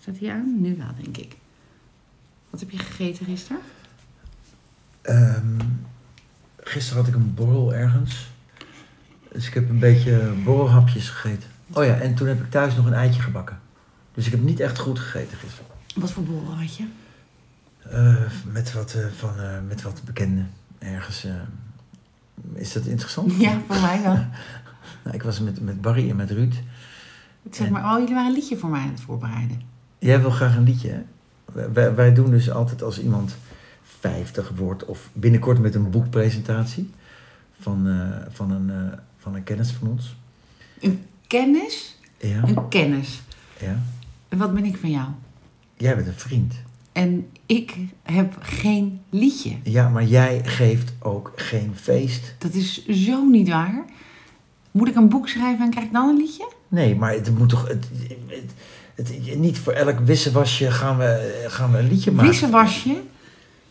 Staat hij aan? Nu wel, denk ik. Wat heb je gegeten gisteren? Ehm, gisteren had ik een borrel ergens. Dus ik heb een beetje borrelhapjes gegeten. Oh ja, en toen heb ik thuis nog een eitje gebakken. Dus ik heb niet echt goed gegeten gisteren. Wat voor borrel had je? Eh, met, wat, eh, van, eh, met wat bekenden ergens. eh. is dat interessant? Ja, voor mij wel. Nou, ik was met, met Barry en met Ruud. Ik zeg maar, oh, jullie waren een liedje voor mij aan het voorbereiden. Jij wil graag een liedje, hè? Wij, wij doen dus altijd als iemand 50 wordt of binnenkort met een boekpresentatie van, eh, van, een, eh, van een kennis van ons. Een kennis? Ja, Een kennis. ja. En wat ben ik van jou? Jij bent een vriend. En ik heb geen liedje. Ja, maar jij geeft ook geen feest. Dat is zo niet waar. Moet ik een boek schrijven en krijg ik dan een liedje? Nee, maar het moet toch... Het, het, het- niet voor elk wisselwasje gaan we, gaan we een liedje maken. Wissen was je?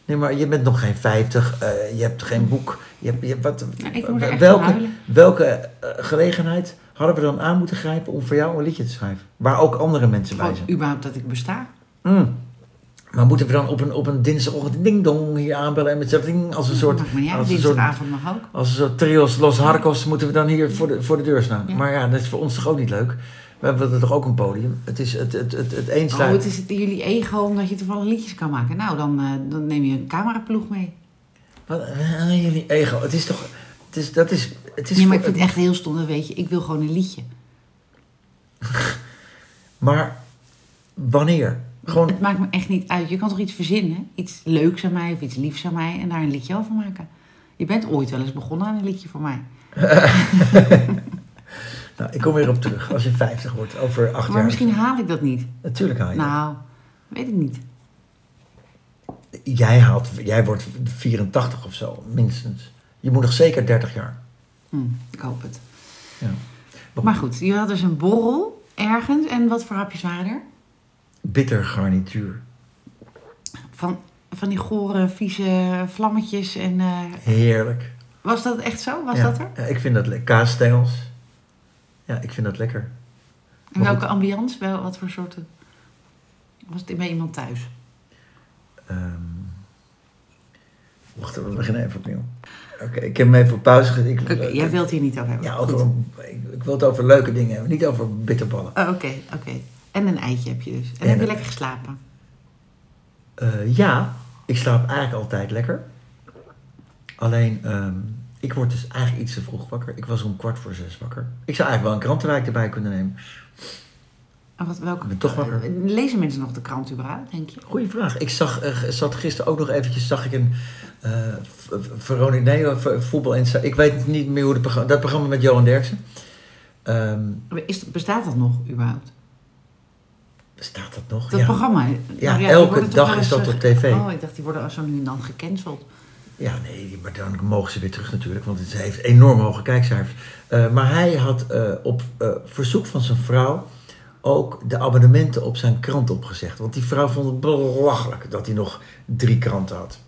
Nee, maar je bent nog geen 50, eh, je hebt geen boek. Je hebt, je hebt wat, Nou, ik moet er echt welke van huilen. welke eh, gelegenheid hadden we dan aan moeten grijpen om voor jou een liedje te schrijven? Waar ook andere mensen bij Gewoon zijn. überhaupt dat ik besta. Mm. Maar moeten we dan op een, op een dinsdagochtend ding-dong hier aanbellen en met zo'n ding als een soort. Maakt me niet uit, als een soort dinsdagavond mag ook. als een soort trios Los Harcos moeten we dan hier voor de, voor de deur staan. Ja. Maar ja, dat is voor ons toch ook niet leuk. We hebben toch ook een podium. Het is het, het, het, het een Oh, sluit. het is het, jullie ego omdat je toevallig liedjes kan maken. Nou, dan, eh, dan neem je een cameraploeg mee. Oh, Wat, eh, jullie ego. Het is toch. Het is, dat is, het is Nee, maar ik voor- vind het echt heel stom, dat weet je. Ik wil gewoon een liedje. Maar wanneer? Gewoon, Het maakt me echt niet uit. Je kan toch iets verzinnen? Iets leuks aan mij of iets liefs aan mij en daar een liedje over maken. Je bent ooit wel eens begonnen aan een liedje voor mij. nou, ik kom weer op terug als je 50 wordt, over acht Maar jaar. misschien haal ik dat niet. Natuurlijk haal je. Nou, weet ik niet. Jij, haalt, jij wordt 84 of zo, minstens. Je moet nog zeker 30 jaar. Hm, ik hoop het. Ja. Maar goed, je had dus een borrel ergens. En wat voor hapjes waren er? Bitter garnituur. Van, van die gore, vieze vlammetjes. En, eh, Heerlijk. was dat echt zo? Was Ja. dat er? Ja, ik vind dat lekker. Kaasstengels. Ja, ik vind dat lekker. En welke ambiance? Wel, wat voor soorten? Was het bij iemand thuis? Ehm, wacht, we beginnen even opnieuw. Oké, ik heb hem even op pauze gezet. Ik, eh, Oké, jij wilt hier niet over hebben. Ja, Goed. over, ik, ik wil het over leuke dingen hebben, niet over bitterballen. Oh, Oké, oké. En een eitje heb je dus. En En heb je een- lekker geslapen? Eh, ja, ik slaap eigenlijk altijd lekker. Alleen, ehm, ik word dus eigenlijk iets te vroeg wakker. Ik was om kwart voor zes wakker. Ik zou eigenlijk wel een krantenwijk erbij kunnen nemen. En wat, welke... Ik ben toch wakker. Lezen mensen nog de krant überhaupt, denk je? Goeie vraag. Ik zag, eh, zat gisteren ook nog eventjes, zag ik een eh v- Veronica, nee, eh, v- voetbal en Ik weet niet meer hoe het programma, dat programma met Johan Derksen. Ehm, Is, bestaat dat nog überhaupt? bestaat dat nog? Dat ja. programma? Nou die elke worden toch dag wel eens, is dat eh, op tv. Oh, ik dacht, die worden zo nu en dan gecanceld. Ja, nee, maar dan mogen ze weer terug natuurlijk, want het heeft enorm hoge kijkcijfers. Eh, maar hij had eh, op eh, verzoek van zijn vrouw ook de abonnementen op zijn krant opgezegd. Want die vrouw vond het belachelijk dat hij nog drie kranten had.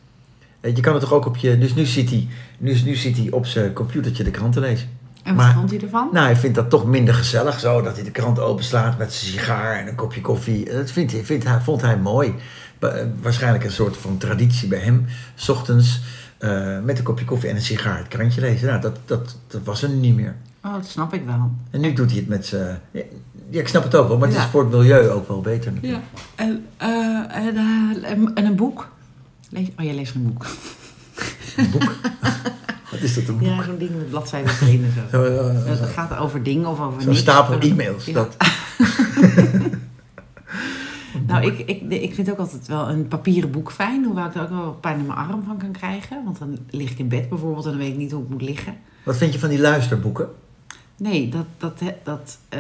Eh, Je kan het toch ook op je... Dus nu zit hij, nu, nu zit hij op zijn computertje de krant te lezen. En wat Maar- vond hij ervan? Nou, hij vindt dat toch minder gezellig zo, dat hij de krant openslaat met zijn sigaar en een kopje koffie. Dat vindt hij, vindt hij, vond hij mooi. Ba- eh, waarschijnlijk een soort van traditie bij hem. 's ochtends eh, met een kopje koffie en een sigaar het krantje lezen. Nou, dat, dat, dat was er nu niet meer. Oh, dat snap ik wel. En nu doet hij het met zijn... Ja, ik snap het ook wel, maar het Ja. is voor het milieu ook wel beter natuurlijk. Ja, en, eh, en, eh, en- en een boek. Lees, oh, jij leest geen boek. Een boek. Wat is dat, een boek? Ja, zo'n ding met bladzijden erin en zo. Zo, eh, Het gaat over dingen of over Zo'n niks. stapel Over- e-mails. Ja. Dat. Nou, ik, ik, ik vind ook altijd wel een papieren boek fijn. Hoewel ik er ook wel pijn in mijn arm van kan krijgen. Want dan lig ik in bed bijvoorbeeld en dan weet ik niet hoe ik moet liggen. Wat vind je van die luisterboeken? Nee, dat, dat, dat, eh,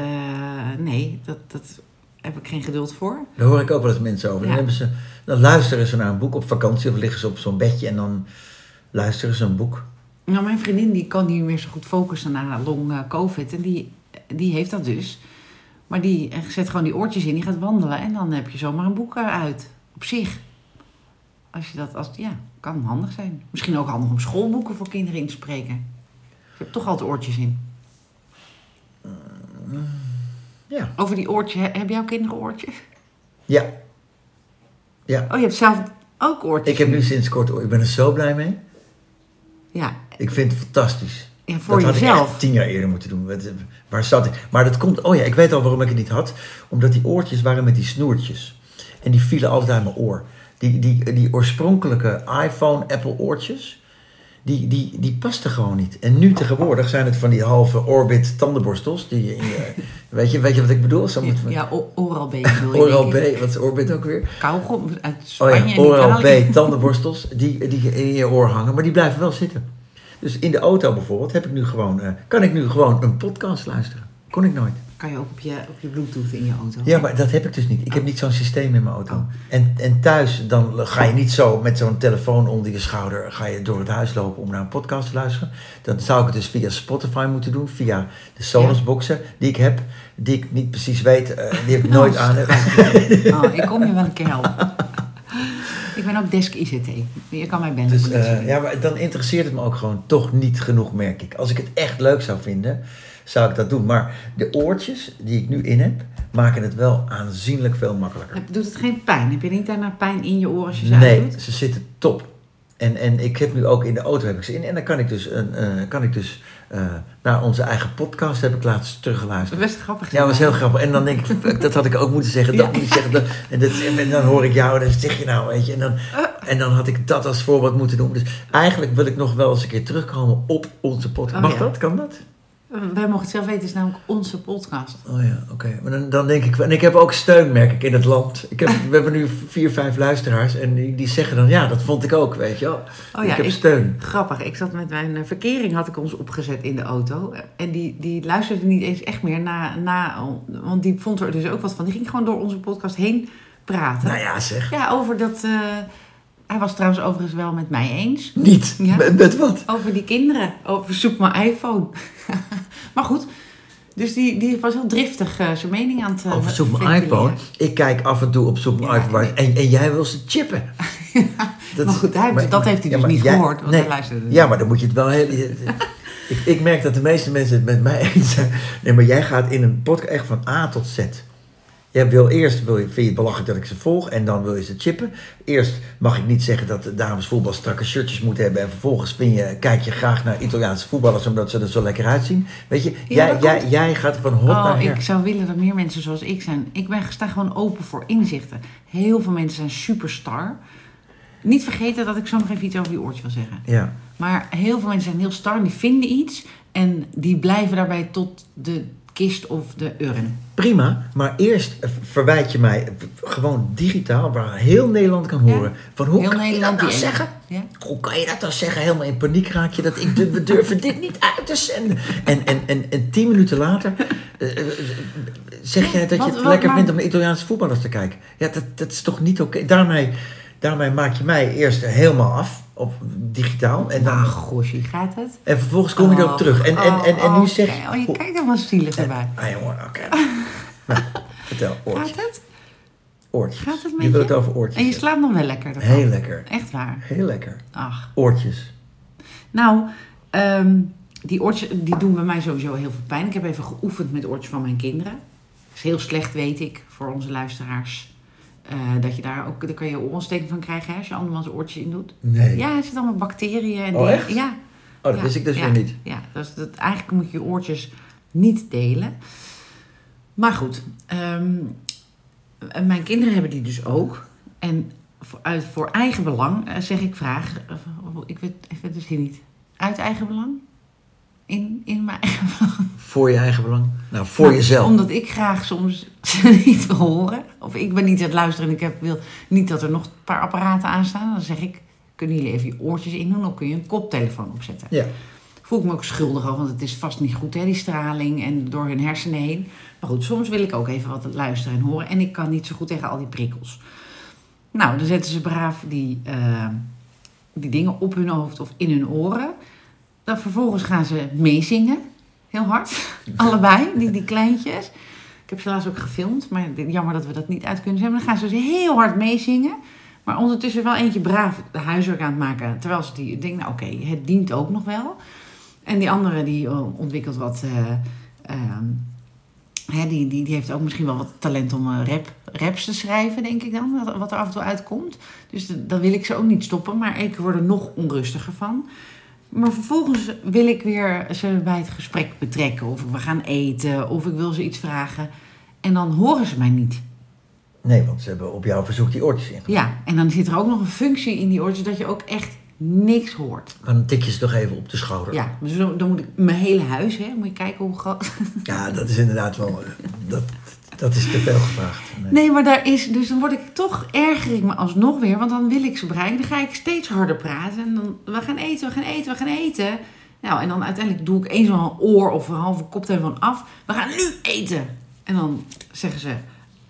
nee, dat, dat heb ik geen geduld voor. Daar hoor ik ook wel eens mensen over. Dan, Ja. hebben ze, dan luisteren ze naar een boek op vakantie of liggen ze op zo'n bedje en dan luisteren ze een boek. Nou, mijn vriendin die kan niet meer zo goed focussen na long eh, covid. En die, die heeft dat dus. Maar die eh, zet gewoon die oortjes in, die gaat wandelen. En dan heb je zomaar een boek eruit. Op zich. Als je dat, als, ja, kan handig zijn. Misschien ook handig om schoolboeken voor kinderen in te spreken. Je hebt toch altijd oortjes in. Ja. Over die oortjes, he- hebben jouw kinderen oortjes? Ja. Ja. Oh, je hebt zelf ook oortjes. Ik heb nu sinds kort, ik ben er zo blij mee. Ja, Ik vind het fantastisch. ja voor dat had ik jezelf. echt tien jaar eerder moeten doen. Wat- Waar zat ik? Maar dat komt, oh ja, ik weet al waarom ik het niet had. Omdat die oortjes waren met die snoertjes. En die vielen altijd uit mijn oor. Die, die, die oorspronkelijke iPhone, Apple oortjes, die, die, die pasten gewoon niet. En nu tegenwoordig zijn het van die halve Orbit tandenborstels. Die, je in je- weet, je, weet je wat ik bedoel? Zo met- Ja, o- Oral B bedoel je. Oral B, denk ik. wat is Orbit ook weer? Kauwgom uit Oh Spanje. ja, en Oral Italië. B, tandenborstels, die, die in je oor hangen, maar die blijven wel zitten. Dus in de auto bijvoorbeeld heb ik nu gewoon, eh, kan ik nu gewoon een podcast luisteren. Kon ik nooit. Kan je ook op je, op je bluetooth in je auto. Ja, maar dat heb ik dus niet. Ik heb niet zo'n systeem in mijn auto. En, en thuis, dan ga je niet zo met zo'n telefoon onder je schouder... ga je door het huis lopen om naar een podcast te luisteren. Dan zou ik het dus via Spotify moeten doen. Via de Sonos boxen die ik heb. Die ik niet precies weet. eh, die heb ik nooit aan. Oh, ik kom je wel een keer helpen. ik ben ook desk ICT. Je kan mij bellen. Dus voor dit soort eh, dingen. ja, maar dan interesseert het me ook gewoon toch niet genoeg, merk ik. Als ik het echt leuk zou vinden, zou ik dat doen. Maar de oortjes die ik nu in heb, maken het wel aanzienlijk veel makkelijker. Heb- Doet het geen pijn? Heb je niet daarna pijn in je oor als je ze Nee, uitdoet? ze zitten top. En, en ik heb nu ook in de auto heb ik ze in. En dan kan ik dus, een, eh, kan ik dus eh, naar onze eigen podcast heb ik laatst Dat teruggeluisterd. is best grappig. Ja, dat was heel grappig. En dan denk ik, fuck, dat had ik ook moeten zeggen, dat Ja. moet ik zeggen. Dat, en, dat, en dan hoor ik jou en dan zeg je nou, weet je. En dan, Ah. en dan had ik dat als voorbeeld moeten doen. Dus eigenlijk wil ik nog wel eens een keer terugkomen op onze podcast. Oh, Mag ja. dat? Kan dat? Eh, Wij mogen het zelf weten. Het is namelijk onze podcast. Oh ja, oké. Maar dan, dan denk ik, en ik heb ook steun, merk ik, in het land. Ik heb, we hebben nu vier, vijf luisteraars en die, die zeggen dan, ja, dat vond ik ook, weet je wel. Oh ja, ik heb ik- steun. Grappig, ik zat met mijn eh, verkering, had ik ons opgezet in de auto. En die, die luisterde niet eens echt meer na, na, want die vond er dus ook wat van. Die ging gewoon door onze podcast heen praten. Nou ja, zeg. Ja, over dat, eh, hij was trouwens overigens wel met mij eens. Niet. Ja. Met, met wat? Over die kinderen, over zoek mijn iPhone. maar goed, dus die, die was heel driftig eh, zijn mening aan het... eh, Over zoek mijn ventileren. iPhone. Ik kijk af en toe op zoek mijn Ja, iPhone. En, en jij wil ze chippen. Dat maar is- goed, hij, maar- dat heeft hij ja, dus maar niet jij- gehoord, want nee. hij luisterde dus niet. Ja, maar dan moet je het wel heel... ik, ik merk dat de meeste mensen het met mij eens zijn. Nee, maar jij gaat in een podcast echt van A tot Z. Jij wil eerst, wil je, vind je het belachelijk dat ik ze volg en dan wil je ze chippen. Eerst mag ik niet zeggen dat de dames voetbal strakke shirtjes moeten hebben. En vervolgens vind je, kijk je graag naar Italiaanse voetballers omdat ze er zo lekker uitzien. Weet je, jij, dat jij, jij gaat van hot Oh, naar her. ik zou willen dat meer mensen zoals ik zijn. Ik ben sta gewoon open voor inzichten. Heel veel mensen zijn superstar. Niet vergeten dat ik zo nog even iets over die oortje wil zeggen. Ja. Maar heel veel mensen zijn heel star en die vinden iets. En die blijven daarbij tot de kist of de urn. Prima, maar eerst verwijt je mij eh, gewoon digitaal, waar heel Nederland kan horen. Van hoe Heel kan Nederland je dat die nou ene. zeggen? Ja. Hoe kan je dat nou zeggen? Helemaal in paniek raak je dat ik du- we durven dit niet uit te zenden. En, en, en, en tien minuten later eh, eh, eh, zeg jij dat Wat- je het wat- lekker maar- vindt om naar Italiaanse voetballers te kijken. Ja, dat, dat is toch niet oké. Daarmee, daarmee maak je mij eerst helemaal af op digitaal en, dan, Ah, goshie, gaat het? en vervolgens kom je erop terug. En, en, en, en nu zeg je... Oh, je. je kijkt er wel zielig erbij. Ah jongen, oké. nou, vertel, oortjes. Gaat het? Oortjes. Gaat het met je wil je? het over oortjes. En je hebben. slaapt nog wel lekker. ervan. Heel lekker. Echt waar. Heel lekker. Ach. Oortjes. Nou, ehm, die oortjes die doen bij mij sowieso heel veel pijn. Ik heb even geoefend met oortjes van mijn kinderen. Dat is heel slecht, weet ik, voor onze luisteraars. Eh, dat je daar ook, daar kan je oorontsteking van krijgen hè, als je andermans oortjes in doet. Nee. Ja, er zitten allemaal bacteriën. En Oh, dingen. echt? Ja. Oh, dat Ja, wist ik dus ja, weer niet. Ja, dus dat, eigenlijk moet je je oortjes niet delen. Maar goed, ehm, en mijn kinderen hebben die dus ook. En voor, uit, voor eigen belang eh, zeg ik vraag, eh, ik weet ik weet het dus niet, uit eigen belang? In, in mijn eigen belang. Voor je eigen belang. Nou, voor jezelf. Omdat ik graag soms ze niet wil horen. Of ik ben niet aan het luisteren en ik heb, wil niet dat er nog een paar apparaten aanstaan. Dan zeg ik, kunnen jullie even je oortjes in doen? Of kun je een koptelefoon opzetten? Ja. voel ik me ook schuldig over, want het is vast niet goed, hè, die straling en door hun hersenen heen. Maar goed, soms wil ik ook even wat luisteren en horen en ik kan niet zo goed tegen al die prikkels. Nou, dan zetten ze braaf die, eh, die dingen op hun hoofd of in hun oren. Dan vervolgens gaan ze meezingen, heel hard, allebei, die, die kleintjes. Ik heb ze laatst ook gefilmd, maar jammer dat we dat niet uit kunnen zetten. Maar dan gaan ze dus heel hard meezingen. Maar ondertussen wel eentje braaf de huiswerk aan het maken. Terwijl ze die denkt, nou oké, het dient ook nog wel. En die andere die eh, ontwikkelt wat eh, ehm, Hè, die, die, die heeft ook misschien wel wat talent om eh, rap, raps te schrijven, denk ik dan. wat- Wat er af en toe uitkomt. Dus d- dan wil ik ze ook niet stoppen. Maar ik word er nog onrustiger van. Maar vervolgens wil ik weer ze bij het gesprek betrekken. Of we gaan eten. Of ik wil ze iets vragen. En dan horen ze mij niet. Nee, want ze hebben op jouw verzoek die oortjes in. Ja, en dan zit er ook nog een functie in die oortjes dat je ook echt niks hoort. Maar dan tik je ze toch even op de schouder. Ja, dus dan, dan moet ik mijn hele huis, hè, moet je kijken hoe groot. Ja, dat is inderdaad wel. eh, Dat, dat is te veel gevraagd. Nee. Nee, maar daar is, dus dan word ik toch erger ik me alsnog weer, want dan wil ik ze bereiken. Dan ga ik steeds harder praten en dan, we gaan eten, we gaan eten, we gaan eten. Nou, en dan uiteindelijk doe ik eens zo'n oor of een halve koptelefoon af. We gaan nu eten. En dan zeggen ze,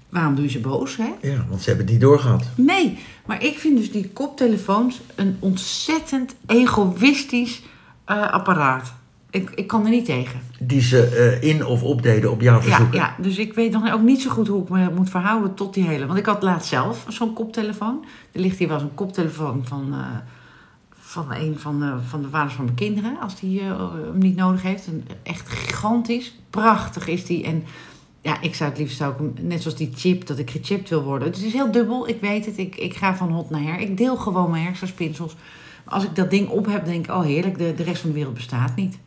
waarom doe je ze boos, hè? Ja, want ze hebben het niet doorgehad. Nee, maar ik vind dus die koptelefoons een ontzettend egoïstisch eh, apparaat. Ik, ik kan er niet tegen. Die ze eh, in of opdeden op jouw Ja, verzoek. ja, dus ik weet dan ook niet zo goed hoe ik me moet verhouden tot die hele. Want ik had laatst zelf zo'n koptelefoon. Er ligt hier wel zo'n koptelefoon van, eh, van een van de, van de vaders van mijn kinderen. Als die eh, hem niet nodig heeft. En echt gigantisch. Prachtig is die. En ja, ik zou het liefst zou ik hem, net zoals die chip, dat ik gechipt wil worden. Het is heel dubbel, ik weet het. Ik, ik ga van hot naar her. Ik deel gewoon mijn hersenspinsels. Maar als ik dat ding op heb, denk ik, oh heerlijk, de, de rest van de wereld bestaat niet.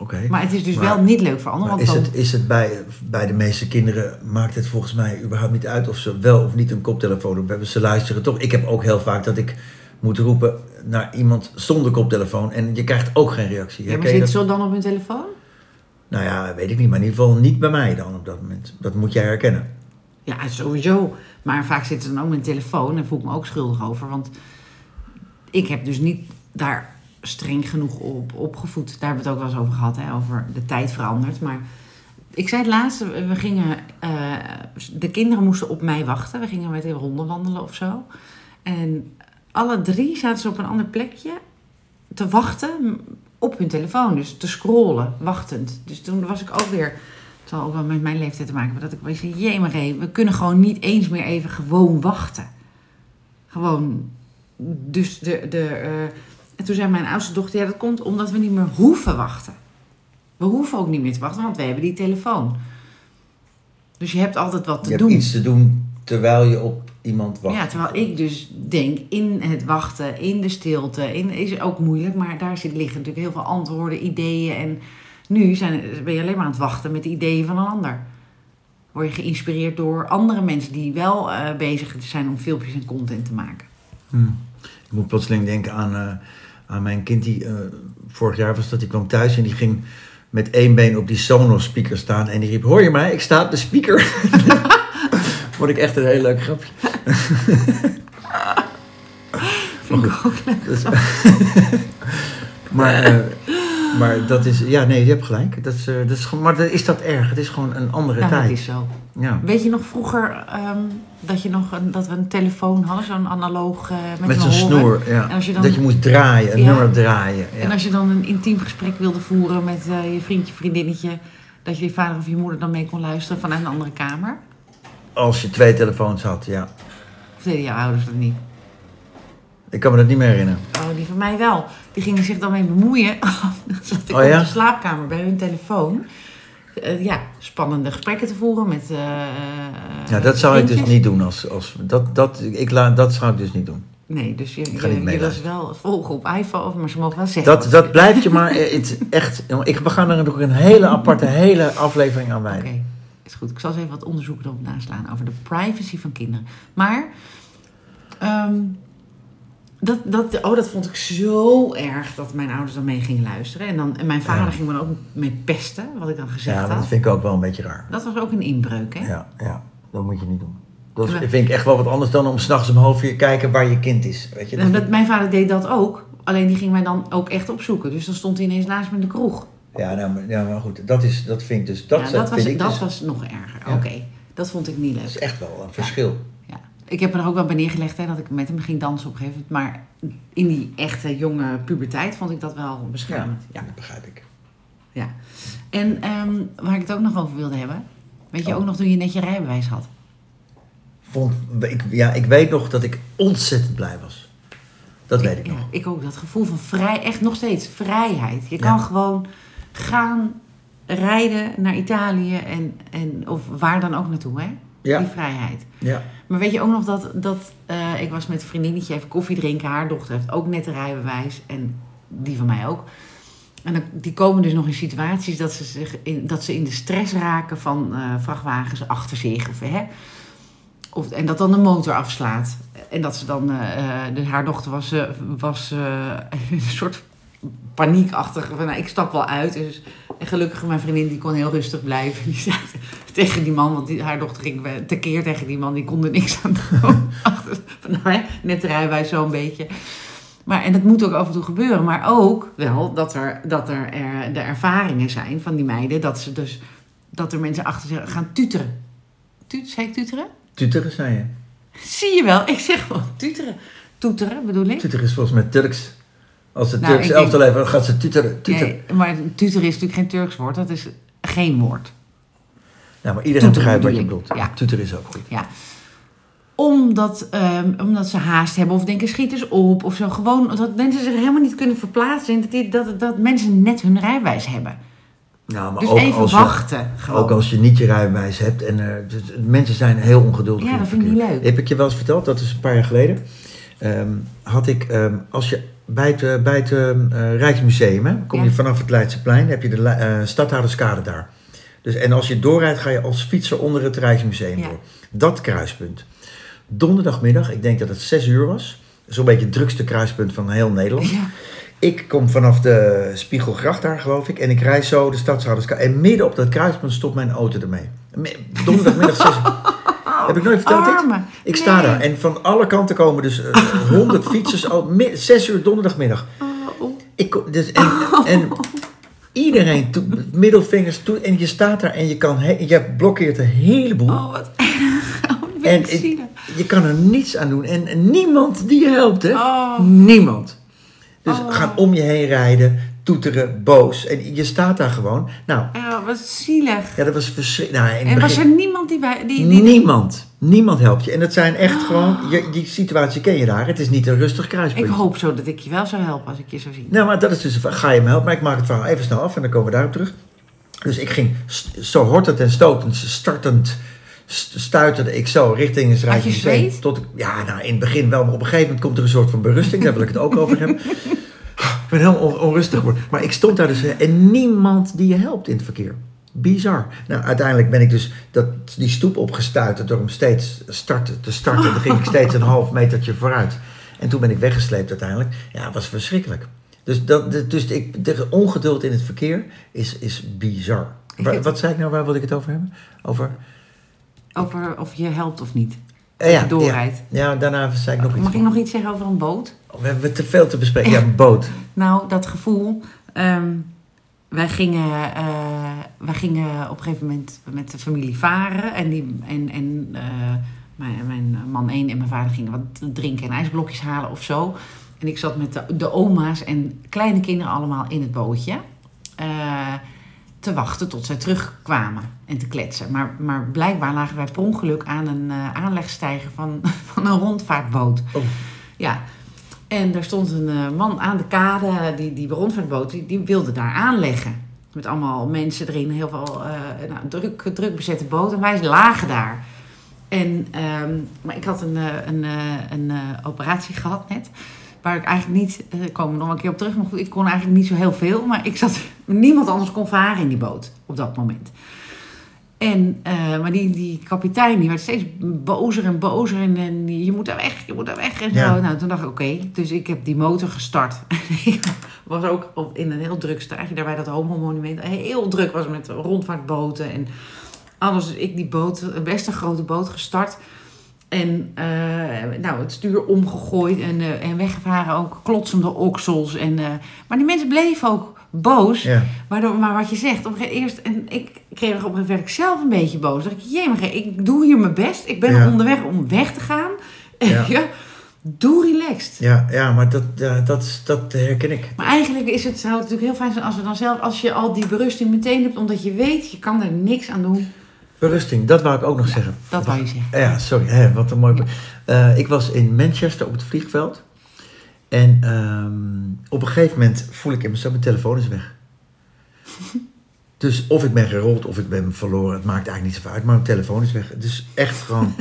Oké. Maar het is dus Maar- wel niet leuk voor anderen. Maar want is dan- het, is het bij, bij de meeste kinderen, maakt het volgens mij überhaupt niet uit of ze wel of niet een koptelefoon op hebben. Ze luisteren toch. Ik heb ook heel vaak dat ik moet roepen naar iemand zonder koptelefoon en je krijgt ook geen reactie. Ja, maar Herken je zit dat? ze dan op hun telefoon? Nou ja, weet ik niet, maar in ieder geval niet bij mij dan op dat moment. Dat moet jij herkennen. Ja, sowieso. Maar vaak zit ze dan ook met een telefoon en voel ik me ook schuldig over. Want ik heb dus niet daar streng genoeg op opgevoed. Daar hebben we het ook wel eens over gehad, hè, over de tijd verandert. Maar ik zei het laatste, we gingen, eh, de kinderen moesten op mij wachten. We gingen met de honden wandelen of zo. En alle drie zaten ze op een ander plekje te wachten op hun telefoon. Dus te scrollen, wachtend. Dus toen was ik ook weer... Het zal ook wel met mijn leeftijd te maken hebben. Dat ik weet, jemig, hé, we kunnen gewoon niet eens meer even gewoon wachten. Gewoon. Dus de. de eh, en toen zei mijn oudste dochter: ja, dat komt omdat we niet meer hoeven wachten. We hoeven ook niet meer te wachten, want we hebben die telefoon. Dus je hebt altijd wat te je doen. hebt iets te doen terwijl je op iemand wacht. Ja, terwijl ik dus denk in het wachten, in de stilte, in, is ook moeilijk, maar daar zit, liggen natuurlijk heel veel antwoorden, ideeën. En nu zijn, ben je alleen maar aan het wachten met de ideeën van een ander. Word je geïnspireerd door andere mensen die wel eh, bezig zijn om filmpjes en content te maken. Hmm. Ik moet plotseling denken aan, eh, aan mijn kind die eh, vorig jaar was dat. Die kwam thuis en die ging met één been op die Sonos speaker staan. En die riep, hoor je mij? Ik sta op de speaker. Vond ik echt een heel leuk grapje. Vind ik ook leuk. Dat is- maar, eh, maar dat is, ja nee, je hebt gelijk. Dat is, eh, dat is, gewoon- maar dat- is dat erg? Het is gewoon een andere Nou, dat tijd. is zo. Ja. Weet je nog vroeger ehm, dat, je nog een, dat we een telefoon hadden, zo'n analoog eh, met, Met een zo'n horen? snoer, ja. En als je dan- dat je moest draaien, een Ja. nummer draaien. Ja. En als je dan een intiem gesprek wilde voeren met eh, je vriendje, vriendinnetje, dat je je vader of je moeder dan mee kon luisteren vanuit een andere kamer? als je twee telefoons had, ja. Of deden je ouders dat niet? Ik kan me dat niet meer herinneren. Oh, die van mij wel. Die gingen zich dan mee bemoeien. dan zat ik Oh ja? op de slaapkamer bij hun telefoon. Eh, ja, spannende gesprekken te voeren met. eh, Ja, dat zou ik dus vriendjes. niet doen. Als, als, dat, dat, ik laat, dat zou ik dus niet doen. Nee, dus je, ga niet je, je wil ze meeluisteren. wel volgen op iPhone, maar ze mogen wel zeggen. Dat, wat ze dat willen. blijft je maar eh, het, echt. jongen, Ik, we gaan er nog een hele aparte, hele aflevering aan Oké, wijden. is goed. Ik zal eens even wat onderzoek erop naslaan over de privacy van kinderen. Maar, ehm, dat, dat, oh, dat vond ik zo erg dat mijn ouders dan mee gingen luisteren. En, dan, en mijn vader Ja. ging me dan ook mee pesten, wat ik dan gezegd Ja, maar dat had. vind ik ook wel een beetje raar. Dat was ook een inbreuk, hè? Ja, ja dat moet je niet doen. Dat is- Ja. vind ik echt wel wat anders dan om s'nachts om half vier kijken waar je kind is. Weet je? Nou, dat, mijn vader deed dat ook, alleen die ging mij dan ook echt opzoeken. Dus dan stond hij ineens naast me in de kroeg. Ja, nou, maar, ja, maar goed, dat, is, dat vind ik dus. Dat, ja, dat dat, was, vind ik dat dus, was nog erger. Ja. Oké, dat vond ik niet leuk. dat is echt wel een verschil. Ja. Ik heb er ook wel bij neergelegd hè, dat ik met hem ging dansen op een gegeven moment. Maar in die echte jonge puberteit vond ik dat wel beschermend. Ja. ja. dat begrijp ik. En ehm, waar ik het ook nog over wilde hebben. Weet je Oh. ook nog toen je net je rijbewijs had? Vond, ik. Ja, ik weet nog dat ik ontzettend blij was. Dat weet ik nog. Ja, ik ook. Dat gevoel van vrij, echt nog steeds vrijheid. Je kan Ja. gewoon gaan rijden naar Italië en, en, of waar dan ook naartoe, hè? Ja. Die vrijheid. Ja. Maar weet je ook nog dat, dat eh, ik was met een vriendinnetje even koffie drinken. Haar dochter heeft ook net een rijbewijs en die van mij ook. En dan, die komen dus nog in situaties dat ze, zich in, dat ze in de stress raken van eh, vrachtwagens achter zich. Of, hè, of, en dat dan de motor afslaat. En dat ze dan, eh, eh, dus haar dochter was, eh, was eh, een soort paniekachtig. Van, nou, ik stap wel uit. Dus, en gelukkig mijn vriendin die kon heel rustig blijven. Die zei tegen die man, want die, haar dochter ging we- tekeer tegen die man. Die kon er niks aan doen. Achter- van, nou, hè, net rijden wij zo'n beetje. Maar, en dat moet ook af en toe gebeuren. Maar ook wel dat er, dat er, er de ervaringen zijn van die meiden. Dat, ze dus, dat er mensen achter ze gaan tuteren. Tut, zei ik tuteren? Tuteren zei je. Zie je wel, ik zeg wel tuteren. Toeteren bedoel ik. Tuteren is volgens mij Turks. Als de Nou, Turks ik denk- elftal even, dan gaat ze tuteren. tuteren. Nee, maar tuteren is natuurlijk geen Turks woord, dat is geen woord. Nou, maar Toeteren iedereen begrijpt wat je bedoel ik. bedoelt. Ja. Tuteren is ook goed. Ja. Omdat, ehm, omdat ze haast hebben of denken schiet eens op of zo. Gewoon dat mensen zich helemaal niet kunnen verplaatsen. En dat, die- dat, dat mensen net hun rijwijs hebben. Nou, maar Dus ook even als je- wachten. gewoon. Ook als je niet je rijbewijs hebt. En eh, dus, mensen zijn heel ongeduldig. Ja, in het dat vind ik niet verkeer. leuk. Heb ik je wel eens verteld, dat is een paar jaar geleden. ehm, had ik, ehm, als je bij het, eh, bij het ehm, eh, Rijksmuseum, hè, kom Ja. je vanaf het Leidseplein, heb je de Le- eh, Stadhouderskade daar. Dus, en als je doorrijdt, ga je als fietser onder het Rijksmuseum Ja. door. Dat kruispunt. Donderdagmiddag, ik denk dat het 6 uur was. Zo'n beetje het drukste kruispunt van heel Nederland. Ja. Ik kom vanaf de Spiegelgracht daar, geloof ik. En ik rijd zo de Stadshouderskade. En midden op dat kruispunt stopt mijn auto ermee. Me- Donderdagmiddag 6 uur. Heb ik nooit verteld dit? Arme. Ik sta Nee. daar. En van alle kanten komen dus honderd 100 fietsers. Al, mi- 6 uur donderdagmiddag. Oh, oh. Ik, kom- dus, en, en iedereen toe, middelvingers toe. En je staat daar en je, kan he- je blokkeert een heleboel. Oh, wat erg. Oh, wat ben en ik ik- zielig. je kan er niets aan doen. En, en niemand die je helpt, hè? Oh. Niemand. Dus Oh. gaan om je heen rijden, toeteren, boos. En je staat daar gewoon. Nou, Ja, wat zielig. ja, dat was verschrikkelijk. Nou, in het En was begin- er Oh. niemand die bij... Die, die, Niemand. Niemand helpt je. En dat zijn echt gewoon... Je, die situatie ken je daar. Het is niet een rustig kruispunt. ik hoop zo dat ik je wel zou helpen als ik je zou zien. Nou, maar dat is dus... een va- Ga je me helpen? Maar ik maak het verhaal even snel af en dan komen we daarop terug. Dus ik ging st- zo hortend en stotend, startend, st- stuiterde ik zo richting Had het je Rijksmuseum. zweet? Tot ik, ja, nou, in het begin wel, maar op een gegeven moment komt er een soort van berusting. Daar wil ik het ook over hebben. Ik ben heel on- onrustig geworden. Maar ik stond daar dus eh, en niemand die je helpt in het verkeer. Bizar. Nou, uiteindelijk ben ik dus dat, die stoep opgestuiterd door hem steeds starten, te starten. Dan ging ik steeds een half metertje vooruit. En toen ben ik weggesleept uiteindelijk. Ja, het was verschrikkelijk. Dus, dat, de- dus ik, de ongeduld in het verkeer is, is bizar. Ik Wa- heb- wat zei ik nou? Waar wilde ik het over hebben? Over... Over of je helpt of niet. eh, je doorrijdt. Ja, ja, daarna zei ik nog iets. Oh, Mag ik nog iets zeggen over een boot? We hebben te veel te bespreken. Ja, een boot. Nou, dat gevoel. ehm, wij, gingen, eh, wij gingen op een gegeven moment met de familie varen. En, die, en, en eh, mijn, mijn man 1 en mijn vader gingen wat drinken en ijsblokjes halen of zo. En ik zat met de, de oma's en kleine kinderen allemaal in het bootje. eh, te wachten tot zij terugkwamen en te kletsen. Maar, maar blijkbaar lagen wij per ongeluk aan een eh, aanlegstijger van, van een rondvaartboot. Oh. Ja, en daar stond een eh, man aan de kade, die, die rondvaartboot, die, die wilde daar aanleggen. Met allemaal mensen erin, heel veel eh, nou, druk, druk bezette boot. En wij lagen daar. En, ehm, maar ik had een, eh, een, eh, een eh, operatie gehad net. Waar ik eigenlijk niet, eh, daar komen we nog wel een keer op terug. Maar goed, ik kon eigenlijk niet zo heel veel. Maar ik zat, niemand anders kon varen in die boot op dat moment. En, eh, maar die, die kapitein die werd steeds bozer en bozer. En, en die, je moet daar weg, je moet daar weg. En zo. Ja. Nou, toen dacht ik, oké. Dus ik heb die motor gestart. ik was ook op, in een heel druk straatje. Daarbij dat homo-monument. Heel druk was met rondvaartboten en alles. Dus ik die boot, best een grote boot gestart. En eh, nou, het stuur omgegooid en, eh, en weggevaren ook klotsende oksels. En, eh, maar die mensen bleven ook boos. Ja. Waardoor, maar wat je zegt, op een gegeven eerst, en ik kreeg op een gegeven moment zelf een beetje boos. Dacht ik, jemig, ik doe hier mijn best. Ik ben Ja. onderweg om weg te gaan. Ja. Ja. Doe relaxed. Ja, ja maar dat, ja, dat, is- dat herken ik. Maar eigenlijk is het, zou het natuurlijk heel fijn zijn als we dan zelf, als je al die berusting meteen hebt, omdat je weet, je kan er niks aan doen. Berusting, dat wou ik ook nog zeggen. Dat wou je zeggen. Ja, sorry, hè, wat een mooi. Eh, ik was in Manchester op het vliegveld. En ehm, op een gegeven moment voel ik in mijn zo, mijn telefoon is weg. Dus of ik ben gerold of ik ben verloren, het maakt eigenlijk niet zoveel uit. Maar mijn telefoon is weg. Dus echt gewoon.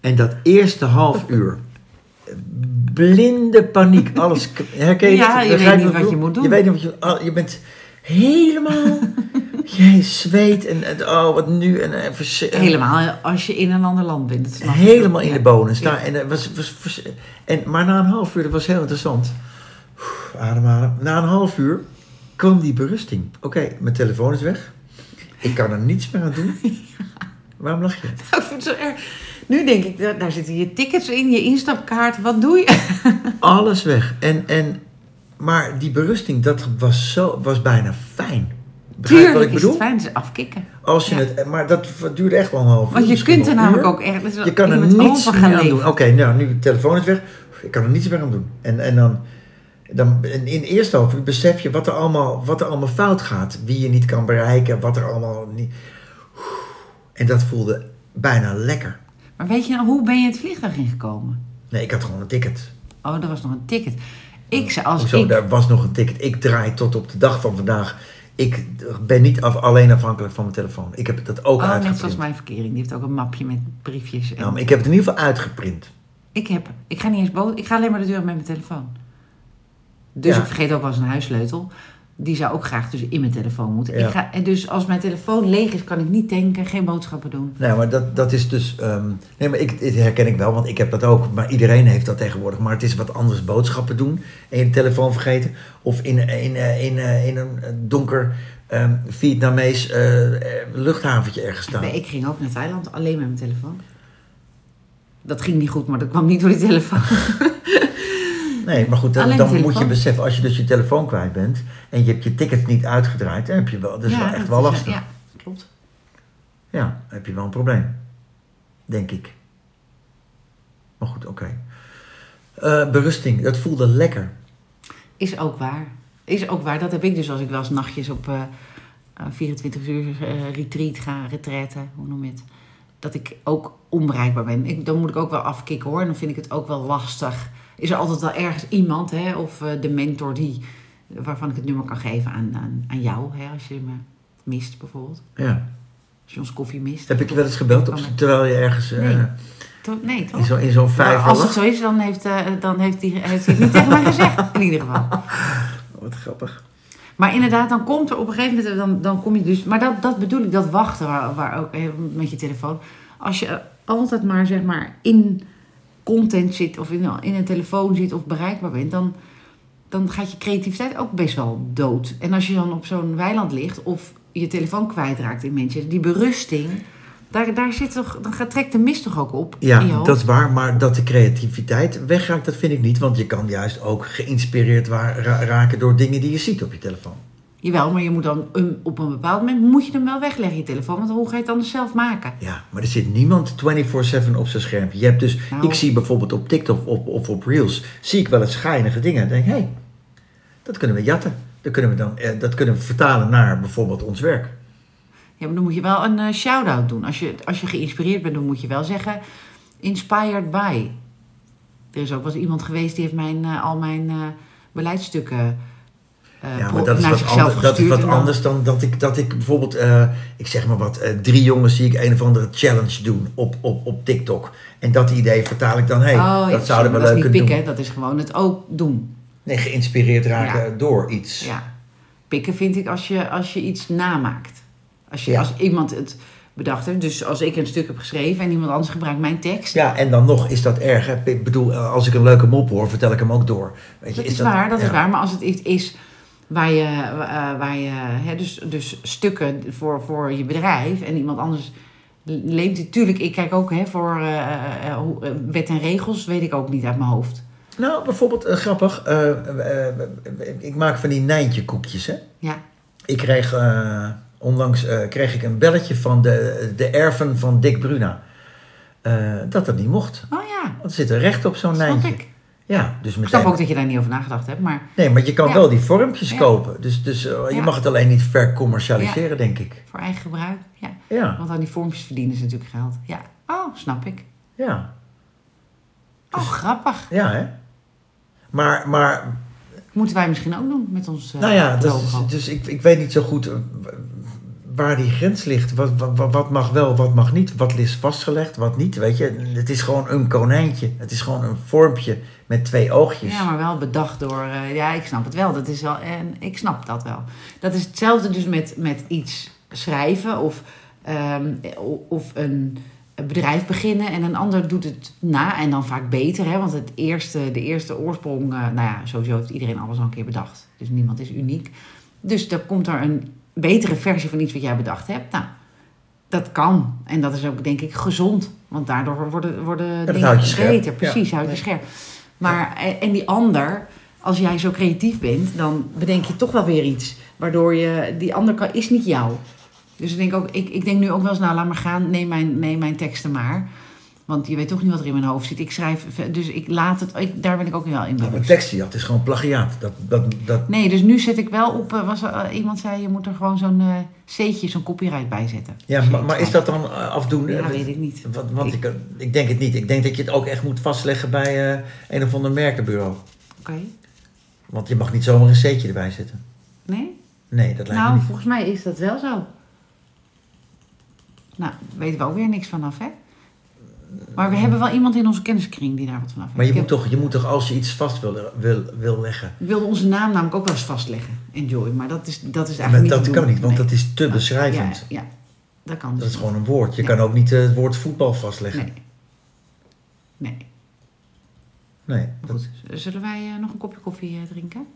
en dat eerste half uur. Blinde paniek, alles. k- Herken je Ja, het? je Begrijp weet niet ik wat je bedoel? moet doen. Je weet niet wat je. ah, Je bent helemaal. jij zweet en, en oh, wat nu? En, en verse- en- Helemaal als je in een ander land bent. dat snap ik Eh, helemaal ook, in ja. de bonen staan. En, het was, was, was- en, maar na een half uur, dat was heel interessant. Oeh, Ademhalen. Na een half uur kwam die berusting. Oké, mijn telefoon is weg. Ik kan er niets meer aan doen. Waarom lach je? Ik vind het zo erg. Nu denk ik, daar daar zitten je tickets in, je instapkaart. Wat doe je? Alles weg. En, en, maar die berusting, dat was, zo, was bijna fijn. Begrijp je wat Tuurlijk ik is het bedoel? fijn, het is afkikken. Als je Ja. het, maar dat duurde echt wel een half uur. Want je misschien kunt wel er een namelijk uur. ook echt... dus Je kan er moet niets over meer gaan aan doen. Oké, leven. nou, nu de telefoon is weg. Ik kan er niets meer aan doen. En, en dan, dan in, in de eerste half uur besef je wat er, allemaal, wat er allemaal fout gaat. Wie je niet kan bereiken, wat er allemaal niet... En dat voelde bijna lekker. Maar weet je, nou, hoe ben je het vliegtuig ingekomen? Nee, ik had gewoon een ticket. Oh, er was nog een ticket. Ik zei, als Hoezo, ik... daar was nog een ticket. Ik draai tot op de dag van vandaag. Ik ben niet af, alleen afhankelijk van mijn telefoon. Ik heb dat ook Oh, net uitgeprint. zoals mijn verkering. Die heeft ook een mapje met briefjes. En Nou, maar ik heb het in ieder geval uitgeprint. Ik heb... Ik ga niet eens boven... Ik ga alleen maar de deur met mijn telefoon. Dus Ja. ik vergeet ook wel eens een huissleutel. Die zou ook graag dus in mijn telefoon moeten. Ja. Ik ga, en dus als mijn telefoon leeg is, kan ik niet denken, geen boodschappen doen. Nou, ja, maar dat, dat is dus. ehm, nee, maar ik, dit herken ik wel, want ik heb dat ook. Maar iedereen heeft dat tegenwoordig. Maar het is wat anders boodschappen doen en je telefoon vergeten. Of in, in, eh, in, eh, in een donker ehm Vietnamees eh, eh, luchthaventje ergens staan. Nee, ik ging ook naar Thailand, alleen met mijn telefoon. Dat ging niet goed, maar dat kwam niet door die telefoon. Nee, maar goed, dan, Alleen dan moet telefoon. je beseffen, als je dus je telefoon kwijt bent en je hebt je ticket niet uitgedraaid, dan heb je wel, dat is wel echt wel is, lastig. Ja, klopt. Ja, dan heb je wel een probleem. Denk ik. Maar goed, oké. Eh, berusting, dat voelde lekker. Is ook waar. Is ook waar. Dat heb ik dus als ik wel eens nachtjes op eh, eh, 24 uur eh, retreat ga, retraite, hoe noem je het. Dat ik ook onbereikbaar ben. Ik, dan moet ik ook wel afkicken hoor. En dan vind ik het ook wel lastig. Is er altijd wel ergens iemand, hè, of eh, de mentor die, waarvan ik het nummer kan geven aan, aan, aan jou, hè, als je me mist bijvoorbeeld. Ja. Als je ons koffie mist. Heb ik je wel eens gebeld op, terwijl je ergens eh, Oh, Nee. To- nee, toch? in zo'n in zo'n Nou, vijver als het lag? zo is, dan heeft, eh, dan heeft, die, heeft hij het niet tegen mij gezegd. In ieder geval. Wat grappig. Maar inderdaad, dan komt er op een gegeven moment, dan, dan kom je dus. Maar dat, dat bedoel ik, dat wachten waar, waar ook eh, met je telefoon. Als je eh, altijd maar zeg maar in content zit of in, in een telefoon zit of bereikbaar bent, dan, dan gaat je creativiteit ook best wel dood. En als je dan op zo'n weiland ligt of je telefoon kwijtraakt in mensen, die berusting, daar, daar zit toch, dan gaat, trekt de mist toch ook op. Ja, in je hoofd? dat is waar, maar dat de creativiteit weggaat, dat vind ik niet. Want je kan juist ook geïnspireerd wa- ra- raken door dingen die je ziet op je telefoon. Jawel, maar je moet dan een- op een bepaald moment moet je hem wel wegleggen, je telefoon. Want hoe ga je het anders zelf maken? Ja, maar er zit niemand 24-7 op zijn schermpje. Je hebt dus, Nou. ik zie bijvoorbeeld op TikTok of, of op Reels, zie ik wel eens schijnige dingen. En denk, hé, hey, dat kunnen we jatten. Dat kunnen we, dan, eh, dat kunnen we vertalen naar bijvoorbeeld ons werk. Ja, maar dan moet je wel een eh, shout-out doen. Als je, als je geïnspireerd bent, dan moet je wel zeggen... Inspired by. Er is ook wel eens iemand geweest die heeft mijn, eh, al mijn eh, beleidsstukken eh, Ja, pro- maar dat is naar wat, zichzelf ander- dat is gestuurd. wat en dan- anders dan dat ik, dat ik bijvoorbeeld, eh, ik zeg maar wat, eh, drie jongens zie ik een of andere challenge doen op, op, op TikTok. En dat idee vertaal ik dan, hé, hey, Oh, dat zouden we dat is leuk niet kunnen pikken, doen. dat is gewoon het ook doen. Nee, geïnspireerd raken door iets. Ja. Pikken vind ik als je, als je iets namaakt. Als, je, Ja. als iemand het bedacht heeft. Dus als ik een stuk heb geschreven en iemand anders gebruikt mijn tekst... Ja, en dan nog is dat erg. Hè? Ik bedoel, eh, als ik een leuke mop hoor, vertel ik hem ook door. Weet je, Dat is, waar, dat ja. is waar. Maar als het iets is waar je, eh, waar je hè, dus, dus stukken voor, voor je bedrijf en iemand anders leent die. Tuurlijk, ik kijk ook hè, voor eh, eh, hoe- eh, wet en regels, weet ik ook niet uit mijn hoofd. Nou, bijvoorbeeld, eh, grappig, eh, eh, eh, ik maak van die Nijntje koekjes, hè. Ja, Ik kreeg eh, onlangs eh, kreeg ik een belletje van de, de erfen van Dick Bruna. Eh, dat dat niet mocht. oh ja, Want er zit er recht op zo'n snap lijntje. ik. Ja, dus Ik snap meteen. ook dat je daar niet over nagedacht hebt, maar Nee, maar je kan Ja. wel die vormpjes Ja. kopen. Dus, dus eh, je Ja. mag het alleen niet vercommercialiseren, denk ik. voor eigen gebruik, ja. Ja, Want aan die vormpjes verdienen ze natuurlijk geld. Ja, oh, snap ik. ja, Oh, Dus- grappig. ja, hè. Maar, maar Moeten wij misschien ook doen met ons eh, nou ja, dat is- logo. dus ik, ik weet niet zo goed eh, waar die grens ligt. Wat, wat, wat mag wel, wat mag niet. Wat is vastgelegd, wat niet. Weet je, het is gewoon een konijntje. Het is gewoon een vormpje met twee oogjes. Ja, maar wel bedacht door. eh, ja, ik snap het wel. Dat is wel. En ik snap dat wel. Dat is hetzelfde dus met, met iets schrijven of, ehm, o- of een bedrijf beginnen en een ander doet het na en dan vaak beter. Hè? Want het eerste, de eerste oorsprong, eh, nou ja, sowieso heeft iedereen alles al een keer bedacht. Dus niemand is uniek. Dus dan komt er een betere versie van iets wat jij bedacht hebt. Nou, dat kan. En dat is ook denk ik gezond. Want daardoor worden, worden dat dingen houdt je beter. scherp. Ja. Precies, houdt je Nee. scherp. Maar, eh, en- en die ander, als jij zo creatief bent, dan bedenk je toch wel weer iets. Waardoor je, die ander kan, is niet jou. Dus ik denk, ook, ik, ik denk nu ook wel eens, nou laat maar gaan, neem mijn, neem mijn teksten maar. Want je weet toch niet wat er in mijn hoofd zit. Ik schrijf, dus ik laat het, ik, daar ben ik ook wel in Nou, een bewust. tekst die je had is gewoon plagiaat. Dat, dat, dat, Nee, dus nu zet ik wel op, eh, was, er, eh, iemand zei je moet er gewoon zo'n eh C'tje, zo'n copyright bij zetten. ja, Dus maar, ik maar is schrijf- dat dan eh, afdoen? Ja, weet ik niet. Want, want ik, ik denk het niet. Ik denk dat je het ook echt moet vastleggen bij eh, een of ander merkenbureau. Oké, Want je mag niet zomaar een C'tje erbij zetten. nee? Nee, dat lijkt me Nou, niet. volgens mij is dat wel zo. Nou, weten we ook weer niks vanaf, hè? Maar we hebben wel iemand in onze kenniskring die daar wat vanaf Eh, Maar je weet. moet, toch, je moet toch, als je iets vast wil, wil, wil leggen... Ik wilde onze naam namelijk ook wel eens vastleggen, Enjoy. Maar dat is, dat is Maar eigenlijk dat niet kan niet, want dat Ah, dat is te beschrijvend. Ja, ja, dat kan dus Dat is niet. gewoon een woord. Je Ja. kan ook niet eh, het woord voetbal vastleggen. Nee. Nee, Nee. maar Dat, goed. Z- Zullen wij eh, nog een kopje koffie eh, drinken?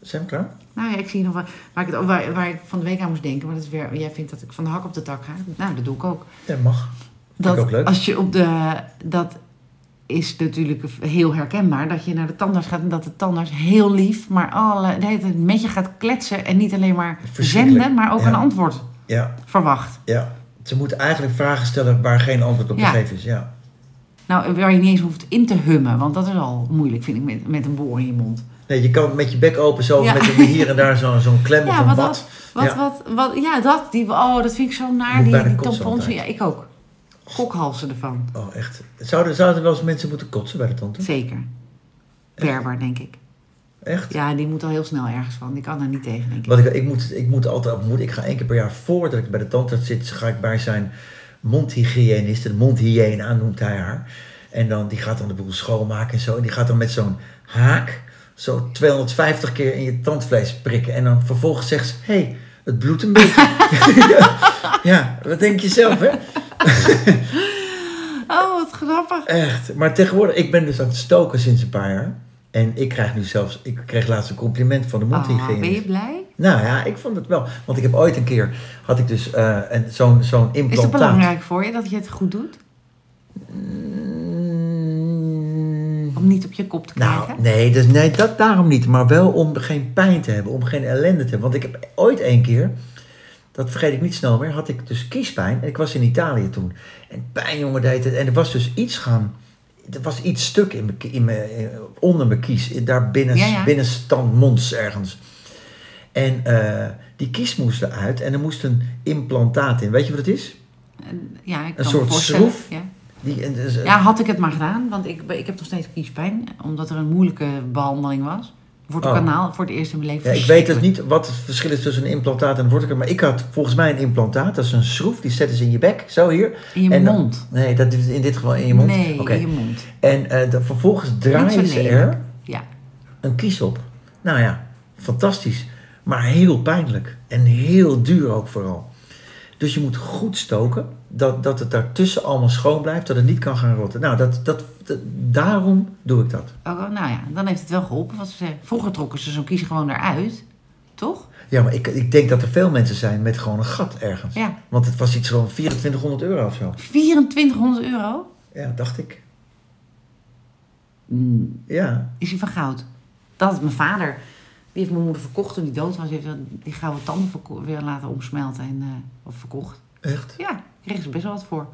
zijn we klaar? Nou ja, ik zie nog wel waar ik, het, waar, waar ik van de week aan moest denken. Maar dat is weer, jij vindt dat ik van de hak op de tak ga. Nou, dat doe ik ook. Ja, mag. Dat ik ook leuk. als je op de. Dat is natuurlijk heel herkenbaar. Dat je naar de tandarts gaat en dat de tandarts heel lief, maar alle, de hele tijd met je gaat kletsen. En niet alleen maar Verschrikkelijk. zenden, maar ook Ja. een antwoord Ja, verwacht. ja. Ze moeten eigenlijk vragen stellen waar geen antwoord op Ja. gegeven is. Ja. Nou, waar je niet eens hoeft in te hummen, want dat is al moeilijk, vind ik, met, met een boor in je mond. Nee, je kan met je bek open zo, Ja. met een- hier en daar zo'n zo'n klem of Ja, een wat wat. als- Wat, Ja. wat, wat, ja, dat, die, oh, dat vind ik zo naar, Moet die, bijna die kotsen tampons. altijd. Ja, ik ook. Kokhalzen ervan, Oh, echt. Zouden, zouden wel eens mensen moeten kotsen bij de tante? zeker. Berber, denk ik. Echt? Ja, die moet al heel snel ergens van, die kan daar niet tegen, denk ik. Want ik, ik, moet, ik moet altijd moet, ik ga één keer per jaar voordat ik bij de tandarts zit, ga ik bij zijn mondhygiënist, de mondhygiëna noemt hij haar. En dan, die gaat dan de boel schoonmaken en zo. En die gaat dan met zo'n haak zo 250 keer in je tandvlees prikken. En dan vervolgens zegt ze, hé, hey, het bloedt een beetje. ja, ja, wat denk je zelf, hè? Oh, wat grappig. Echt. Maar tegenwoordig, ik ben dus aan het stoken sinds een paar jaar. En ik krijg nu zelfs, ik kreeg laatst een compliment van de Ah, mondhygiënist. ben je blij? Nou ja, ik vond het wel. Want ik heb ooit een keer, had ik dus eh, een- zo'n zo'n implantaat. Is het belangrijk voor je dat je het goed doet? Mm, Om niet op je kop te krijgen? nou, nee, dus, nee dat daarom niet. Maar wel om geen pijn te hebben, om geen ellende te hebben. Want ik heb ooit één keer, dat vergeet ik niet snel meer, had ik dus kiespijn. En ik was in Italië toen. En pijn, jongen, deed het. En er was dus iets gaan... Er was iets stuk in mijn, ki- in mijn, eh, onder mijn kies. Daar binnen, Ja, ja. binnenstand mons ergens. En eh, die kies moest eruit en er moest een implantaat in. Weet je wat het is? En- ja, ik een kan soort me voorstellen. schroef? Ja. Die, en dus, eh, ja, had ik het maar gedaan, want ik, ik heb nog steeds kiespijn. Omdat er een moeilijke behandeling was. Voor het Oh. kanaal, voor het eerst in mijn leven. ja, ik weet dus niet wat het verschil is tussen een implantaat en een wortel. Maar ik had volgens mij een implantaat. Dat is een schroef, die zetten ze in je bek. Zo hier. In je en dan- mond. Nee, dat is in dit geval in je mond. Nee, Oké. in je mond. En eh, dan vervolgens draaien Niet zo ze lelijk. er Ja. een kies op. Nou ja, fantastisch. Maar heel pijnlijk. En heel duur ook vooral. Dus je moet goed stoken. Dat, dat het daartussen allemaal schoon blijft. Dat het niet kan gaan rotten. Nou, dat, dat, dat- daarom doe ik dat. Oh, nou ja, dan heeft het wel geholpen wat ze zeggen. Vroeger trokken ze zo'n kies gewoon eruit. Toch? Ja, maar ik, ik denk dat er veel mensen zijn met gewoon een gat ergens. Ja. Want het was iets van 2400 euro of zo. 2400 euro? Ja, dacht ik. Mm, Ja. is hij van goud. Dat had mijn vader. Die heeft mijn moeder verkocht toen die dood was. Die heeft dan die gouden tanden verko- weer laten omsmelten en eh, of verkocht. Echt? Ja, daar kreeg ze best wel wat voor.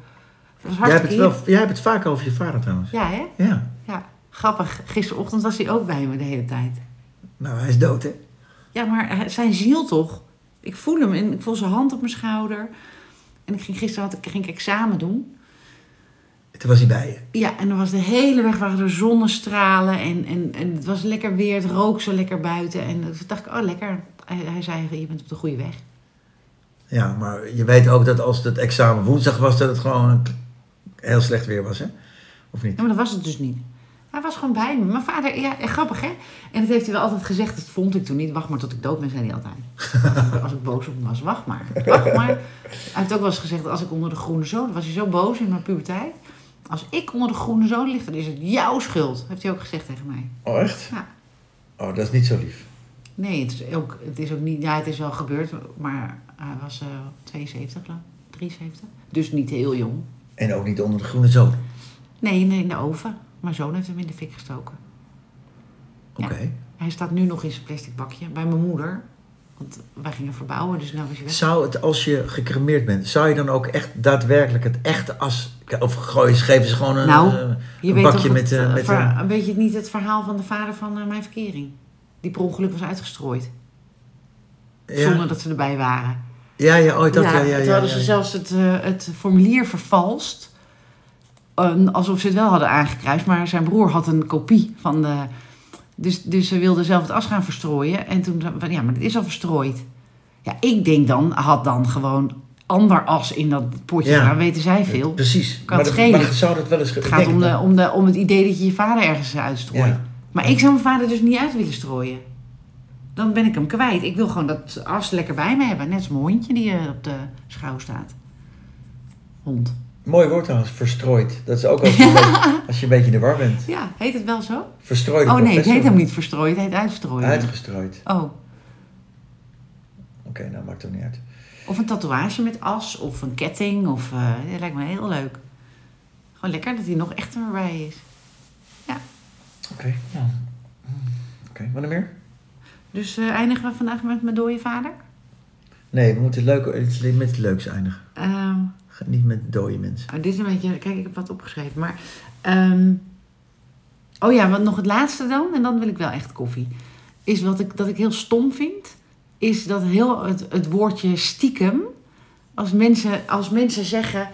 Dat was Jij hebt, hartstikke het wel, jij hebt het vaak over je vader trouwens. hip. Ja, hè? Ja. Ja. Grappig. Gisterochtend was hij ook bij me de hele tijd. Nou, hij is dood, hè? Ja, maar hij- zijn ziel toch? Ik voel hem en ik voel zijn hand op mijn schouder. En ik ging, gisteren had ik, ging ik examen doen. Toen was hij bij je. Ja, en er was de hele weg waren er zonnestralen en, en, en het was lekker weer, het rook zo lekker buiten. En toen dacht ik, oh lekker. Hij, hij zei, je bent op de goede weg. Ja, maar je weet ook dat als het examen woensdag was, dat het gewoon een- heel slecht weer was, hè? Of niet? Ja, maar dat was het dus niet. Hij was gewoon bij me. Mijn vader, ja, en grappig hè? En dat heeft hij wel altijd gezegd. Dat vond ik toen niet. Wacht maar tot ik dood ben, zei hij altijd. Als ik, als ik boos op hem was, wacht maar. Wacht maar. Hij heeft ook wel eens gezegd, als ik onder de groene zoden was hij zo boos in mijn puberteit. Als ik onder de groene zoden lig, dan is het jouw schuld. Heeft hij ook gezegd tegen mij. Oh, echt? Ja. Oh, dat is niet zo lief. Nee, het is ook, het is ook niet... Ja, het is wel gebeurd, maar hij was eh 72 geloof ik, 73. Dus niet heel jong. En ook niet onder de groene zoden. Nee, nee, in de oven. Mijn zoon heeft hem in de fik gestoken. Oké. Hij staat nu nog in zijn plastic bakje bij mijn moeder. Want wij gingen verbouwen, dus nou is hij weg. Zou het, als je gecremeerd bent, zou je dan ook echt daadwerkelijk het echte as... Of gooien, ze- geven ze gewoon een, Nou, eh, Je een bakje toch met... het, eh, eh, met ver- een- een beetje niet het verhaal van de vader van eh, mijn verkering. Die per ongeluk was uitgestrooid. eh, ja, Zonder dat ze erbij waren. ja, ja, ooit Oh, dat, ja, ja, ja. toen hadden ja, ze ja. zelfs het, eh, het formulier vervalst. Eh, alsof ze het wel hadden aangekruist. Maar zijn broer had een kopie van de... Dus, dus ze wilde zelf het as gaan verstrooien. En toen zei van, ja, maar het is al verstrooid. Ja, ik denk dan, had dan gewoon ander as in dat potje. Ja. Ja. weten zij veel. Precies. Kan maar, het dat, schelen. maar zou dat wel eens... Het gaat om, de, om, de, om het idee dat je je vader ergens uitstrooit. Ja. Maar ik zou mijn vader dus niet uit willen strooien. Dan ben ik hem kwijt. Ik wil gewoon dat as lekker bij me hebben. Net als mijn hondje die eh, op de schouw staat. Hond. Mooi woord trouwens, verstrooid. Dat is ook als je, een beetje- als je een beetje in de war bent. Ja, heet het wel zo? Verstrooid. Oh nee, het heet hem niet verstrooien. Het heet uitstrooien. Uitgestrooid. Oh, Oké, nou maakt toch niet uit. of een tatoeage met as of een ketting. Of, eh, dat lijkt me heel leuk. Gewoon lekker dat hij nog echter erbij is. Oké. Ja. Oké, wat er meer? Dus eh, eindigen we vandaag met mijn dode vader? Nee, we moeten leuk, het met het leuks eindigen. Ehm, Ga Niet met dode mensen. Oh, dit is een beetje, kijk, ik heb wat opgeschreven. Maar, ehm, oh ja, wat nog het laatste dan, en dan wil ik wel echt koffie. Is wat ik, dat ik heel stom vind, is dat heel het, het woordje stiekem. Als mensen, als mensen zeggen,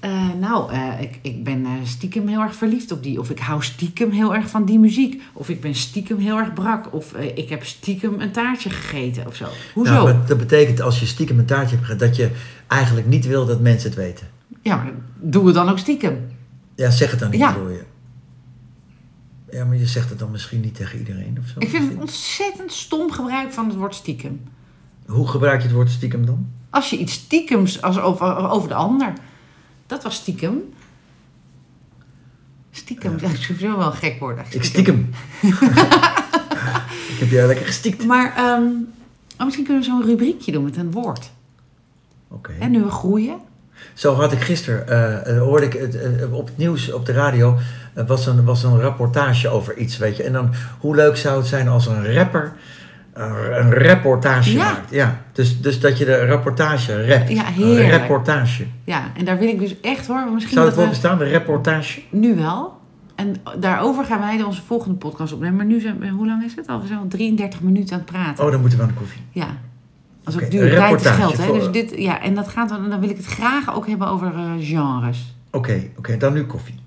eh, nou, eh, ik, ik ben eh, stiekem heel erg verliefd op die. Of ik hou stiekem heel erg van die muziek. Of ik ben stiekem heel erg brak. Of eh, ik heb stiekem een taartje gegeten of zo. Hoezo? Nou, maar dat betekent als je stiekem een taartje hebt gegeten, dat je eigenlijk niet wil dat mensen het weten. Ja, maar doe het dan ook stiekem. Ja, zeg het dan niet, Ja. bedoel je. Ja, maar je zegt het dan misschien niet tegen iedereen of zo. Ik vind het een ontzettend stom gebruik van het woord stiekem. Hoe gebruik je het woord stiekem dan? Als je iets stiekems als over, over de ander. Dat was stiekem. Stiekem, dat is sowieso wel een gek woord. Ik eigenlijk. stiekem. ik heb jou lekker gestiekt. Oké. Maar ehm, oh, misschien kunnen we zo'n rubriekje doen met een woord. En nu we groeien. Zo had ik gisteren, eh, eh, hoorde ik het, eh, op het nieuws, op de radio, eh, was, een, was een rapportage over iets, weet je. En dan, hoe leuk zou het zijn als een rapper eh, een reportage Ja. maakt. Ja, dus, dus dat je de rapportage rapt. Ja, Een heerlijk. reportage. Ja, en daar wil ik dus echt hoor. Misschien Zou het dat woord we bestaan, de reportage? nu wel. En daarover gaan wij onze volgende podcast opnemen. Maar nu zijn we, hoe lang is het al? We zijn al 33 minuten aan het praten. Oh, dan moeten we aan de koffie. Ja. Als ook Oké, duur een tijd is reportage geld. Hè? voor- Dus dit, ja, en dat gaat, dan dan wil ik het graag ook hebben over eh, genres. Oké, oké, dan nu koffie.